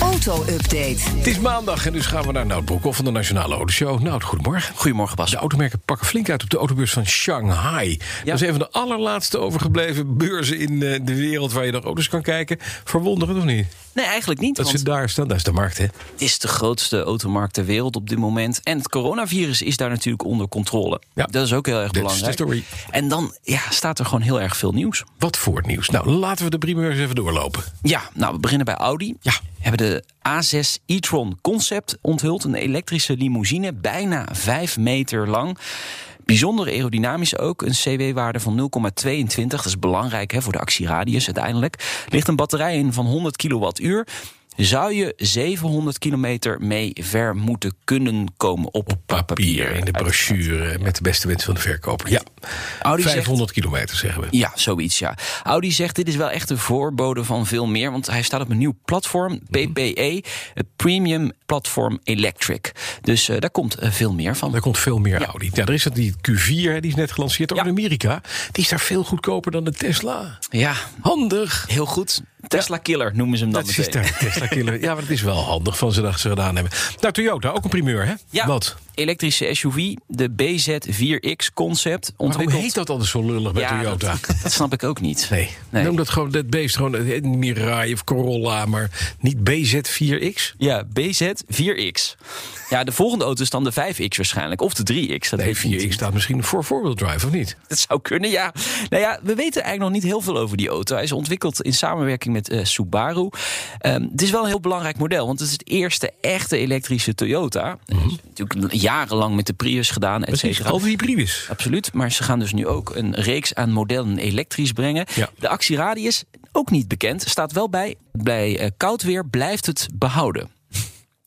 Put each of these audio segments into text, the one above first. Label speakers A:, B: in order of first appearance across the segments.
A: Auto-update.
B: Het is maandag en dus gaan we naar Nout Broekhoff van de Nationale Autoshow. Nout, goedemorgen.
C: Goedemorgen Bas.
B: De automerken pakken flink uit op de autobeurs van Shanghai. Dat is een van de allerlaatste overgebleven beurzen in eh, de wereld waar je naar auto's kan kijken. Verwonderend of niet?
C: Nee, eigenlijk niet.
B: Dat
C: want
B: ze daar staan, daar is de markt, hè?
C: het is de grootste automarkt ter wereld op dit moment. En het coronavirus is daar natuurlijk onder controle.
B: Ja.
C: Dat is ook heel erg
B: Dit is
C: belangrijk.
B: de story.
C: En dan ja, staat er gewoon heel erg veel nieuws.
B: Wat voor het nieuws. Nou, laten we de primeurs even doorlopen.
C: Ja, nou, we beginnen bij Audi.
B: Ja.
C: Hebben de A6 e-tron concept onthuld. Een elektrische limousine, bijna 5 meter lang. Bijzonder aerodynamisch ook. Een CW-waarde van 0,22. Dat is belangrijk hè, voor de actieradius uiteindelijk. Ligt een batterij in van 100 kilowattuur. Zou je 700 kilometer mee ver moeten kunnen komen op,
B: Papier in de brochure met de beste wensen van de verkoper. Ja,
C: Audi zegt-
B: 500 kilometer zeggen we.
C: Ja, zoiets, ja. Audi zegt dit is wel echt een voorbode van veel meer, want hij staat op een nieuw platform,
B: Mhm.
C: PPE, het Premium Platform Electric. Dus eh, daar komt eh, veel meer van.
B: Daar komt veel meer
C: Ja.
B: Audi. Ja, er is dat die Q4, hè, die is net gelanceerd ook
C: Ja.
B: in Amerika. Die is daar veel goedkoper dan de Tesla.
C: Ja,
B: Handig.
C: heel goed. Tesla Killer noemen ze hem dan
B: Dat is
C: meteen.
B: daar, Tesla killer. Ja, maar het is wel handig van ze dat ze gedaan hebben. Nou, Toyota, ook een primeur, hè?
C: Ja,
B: Wat?
C: elektrische SUV, de BZ4X concept
B: Maar
C: ontwikkeld.
B: Oh, hoe heet dat altijd zo lullig bij
C: ja,
B: Toyota?
C: Dat, dat snap ik ook niet.
B: Nee. Noem dat gewoon, dat beest gewoon eh, Mirai of Corolla, maar niet BZ4X?
C: Ja, BZ4X. Ja, de volgende auto is dan de 5X waarschijnlijk. Of de 3X. Dat
B: Nee,
C: weet ik niet.
B: 4X staat misschien voor four-wheel drive, of niet?
C: Dat zou kunnen, ja. Nou ja, we weten eigenlijk nog niet heel veel over die auto. Hij is ontwikkeld in samenwerking met eh, Subaru. Ehm, het is wel een heel belangrijk model, want het is het eerste echte elektrische Toyota. Het is Natuurlijk jarenlang met de Prius gedaan, et
B: Precies,
C: cetera.
B: altijd hybrides.
C: Absoluut, maar ze gaan dus nu ook een reeks aan modellen elektrisch brengen.
B: Ja.
C: De actieradius, ook niet bekend, staat wel bij. Bij eh, koud weer blijft het behouden.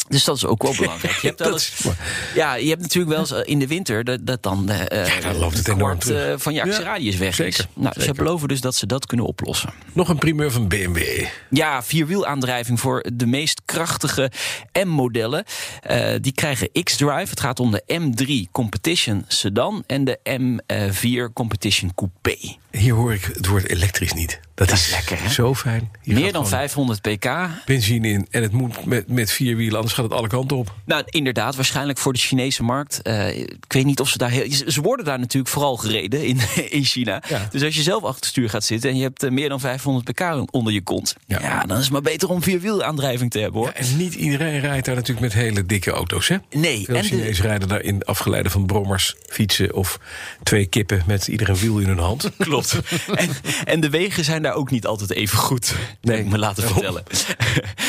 C: Dus dat is ook wel belangrijk. Je hebt, wel
B: Dat
C: eens-
B: is mooi.
C: ja, je hebt natuurlijk wel eens eh, in de winter dat, dat dan eh,
B: Ja, dan loopt het
C: een
B: enorm
C: kwart,
B: terug.
C: eh, van je actieradius weg
B: zeker,
C: is. Nou,
B: zeker.
C: Ze beloven dus dat ze dat kunnen oplossen.
B: Nog een primeur van BMW.
C: Ja, vierwielaandrijving voor de meest krachtige M-modellen. Eh, die krijgen X-Drive. Het gaat om de M3 Competition Sedan en de M4 Competition Coupé.
B: Hier hoor ik het woord elektrisch niet. Dat, is
C: lekker, hè?
B: zo fijn. Hier
C: Meer
B: gaat
C: dan
B: gewoon
C: 500 pk.
B: Benzine in en het moet met, met vier wielen, anders gaat het alle kanten op.
C: Nou, inderdaad, waarschijnlijk voor de Chinese markt. Eh, ik weet niet of ze daar heel. ze- Ze worden daar natuurlijk vooral gereden in, in China.
B: Ja.
C: Dus als je zelf achter het stuur gaat zitten en je hebt eh, meer dan 500 pk onder je kont.
B: Ja.
C: Ja, dan is het maar beter om vierwielaandrijving te hebben hoor.
B: En niet iedereen rijdt daar natuurlijk met hele dikke auto's, hè?
C: Nee,
B: Veel
C: en de-
B: Chinezen rijden daarin afgeleide van brommers, fietsen of twee kippen met ieder een wiel in hun hand.
C: Klopt. en, en de wegen zijn daar ook niet altijd even goed. Nee, me laten vertellen.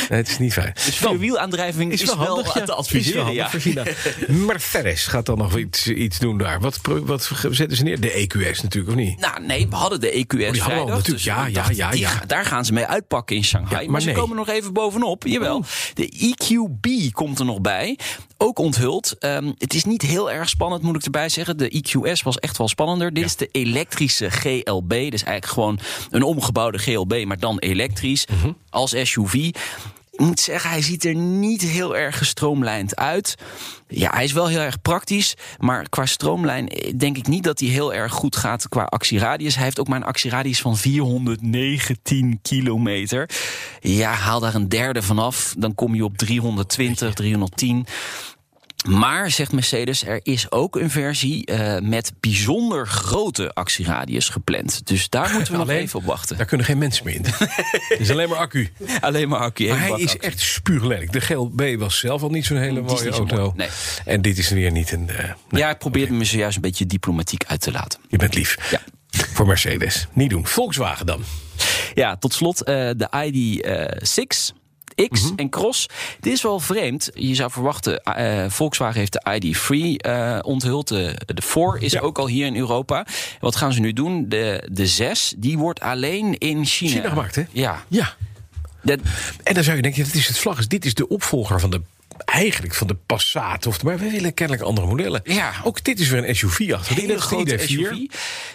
B: Nee, het is niet fijn.
C: Dus vierwielaandrijving is, wel
B: ja.
C: te
B: Is wel
C: adviseren.
B: handig
C: Ja.
B: voor China. Mercedes gaat dan nog iets, iets doen daar. Wat, pro- wat zetten ze neer? De EQS natuurlijk, of niet?
C: Nou, nee, we hadden de EQS
B: Oh, we
C: vrijdag.
B: natuurlijk.
C: dus
B: Ja, ja,
C: ik dacht,
B: ja,
C: die
B: ja.
C: ga- daar gaan ze mee uitpakken in Shanghai.
B: Ja,
C: maar
B: maar
C: ze
B: nee.
C: komen nog even bovenop. Jawel. De EQB komt er nog bij. Ook onthuld. Ehm, het is niet heel erg spannend, moet ik erbij zeggen. De EQS was echt wel spannender. Dit is de elektrische GLB. Dus eigenlijk gewoon een omgebouwde GLB, maar dan elektrisch.
B: Mhm.
C: Als SUV. Ik moet zeggen, hij ziet er niet heel erg gestroomlijnd uit. Ja, hij is wel heel erg praktisch. Maar qua stroomlijn eh, denk ik niet dat hij heel erg goed gaat qua actieradius. Hij heeft ook maar een actieradius van 419 kilometer. Ja, haal daar een derde vanaf. Dan kom je op 320, 310. Maar, zegt Mercedes, er is ook een versie eh, met bijzonder grote actieradius gepland. Dus daar moeten we nog
B: Alleen?
C: even op wachten.
B: Daar kunnen geen mensen meer in. Het is alleen maar accu.
C: Alleen maar accu.
B: Maar
C: één
B: hij
C: bak
B: is
C: accu.
B: echt spuuglelijk. De GLB was zelf al niet zo'n hele
C: is
B: mooie
C: niet zo mooi,
B: auto.
C: nee.
B: En dit is weer niet een... eh,
C: Ja, hij probeerde me zojuist een beetje diplomatiek uit te laten.
B: Je bent lief.
C: Ja.
B: Voor Mercedes. Niet doen. Volkswagen dan.
C: Ja, tot slot eh, de ID6. X
B: Mhm.
C: en Cross. Dit is wel vreemd. Je zou verwachten, eh, Volkswagen heeft de ID3 eh, onthuld. De, de 4 is
B: Ja.
C: ook al hier in Europa. Wat gaan ze nu doen? De, de 6, die wordt alleen in China.
B: China gemaakt, hè?
C: Ja.
B: Ja.
C: Dat,
B: Dus En dan zou je denken, dit is het vlag. Dit is de opvolger van de eigenlijk van de Passat. Of, maar we willen kennelijk andere modellen.
C: Ja.
B: Ook dit is weer een SUV achter.
C: Hele grote SUV.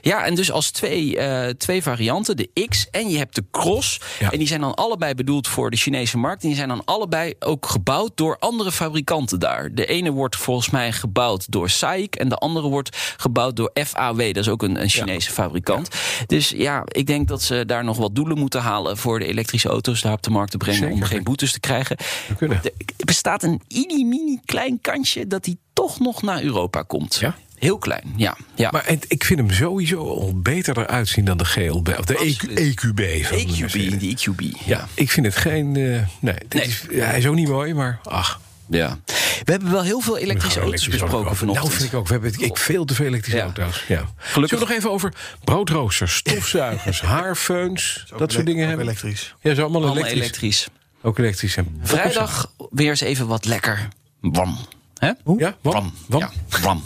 C: Ja, en dus als twee, eh, twee varianten, de X en je hebt de Cross.
B: Ja.
C: En die zijn dan allebei bedoeld voor de Chinese markt. En die zijn dan allebei ook gebouwd door andere fabrikanten daar. De ene wordt volgens mij gebouwd door SAIC en de andere wordt gebouwd door FAW. Dat is ook een, een Chinese fabrikant. Dus ja, ik denk dat ze daar nog wat doelen moeten halen voor de elektrische auto's daar op de markt te brengen om
B: Zeker.
C: geen boetes te krijgen.
B: kunnen.
C: Er bestaat een mini mini klein kansje dat die toch nog naar Europa komt.
B: Ja?
C: Heel klein, ja. ja.
B: Maar het- ik vind hem sowieso al beter eruit zien dan de GLB. Of de E EQ,
C: Absoluut.
B: EQB. van de
C: EQB,
B: Mercedes.
C: die EQB.
B: Ja, ik vind het geen... eh, nee, dit
C: Nee.
B: Is, ja, hij is ook niet mooi, maar ach.
C: ja. We hebben wel heel veel elektrische
B: Gaan we elektrisch
C: auto's besproken
B: auto's kopen? Nou, vind
C: vanochtend.
B: ik ook. We hebben het- ik veel te veel elektrische
C: Ja.
B: auto's. Ja. Gelukkig nog even over broodroosters, stofzuigers, haarfeuns. Dat soort dingen
A: Ook
B: hebben.
A: elektrisch.
B: Ja, ze allemaal,
C: Allemaal
B: elektrisch.
C: elektrisch.
B: Ook elektrisch. En
C: Vrijdag weer eens even wat lekker. Wam. Hè?
B: Ja, wat?
C: Wam.
B: Wam?
C: Ja, wam.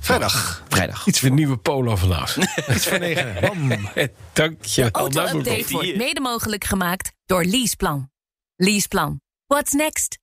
A: Vrijdag.
C: Vrijdag.
B: Iets de nieuwe Polo vandaag. Iets van negen. Dank je. wel. Nou, moet ik-
D: Auto-update wordt mede mogelijk gemaakt door Leaseplan. Leaseplan. What's next?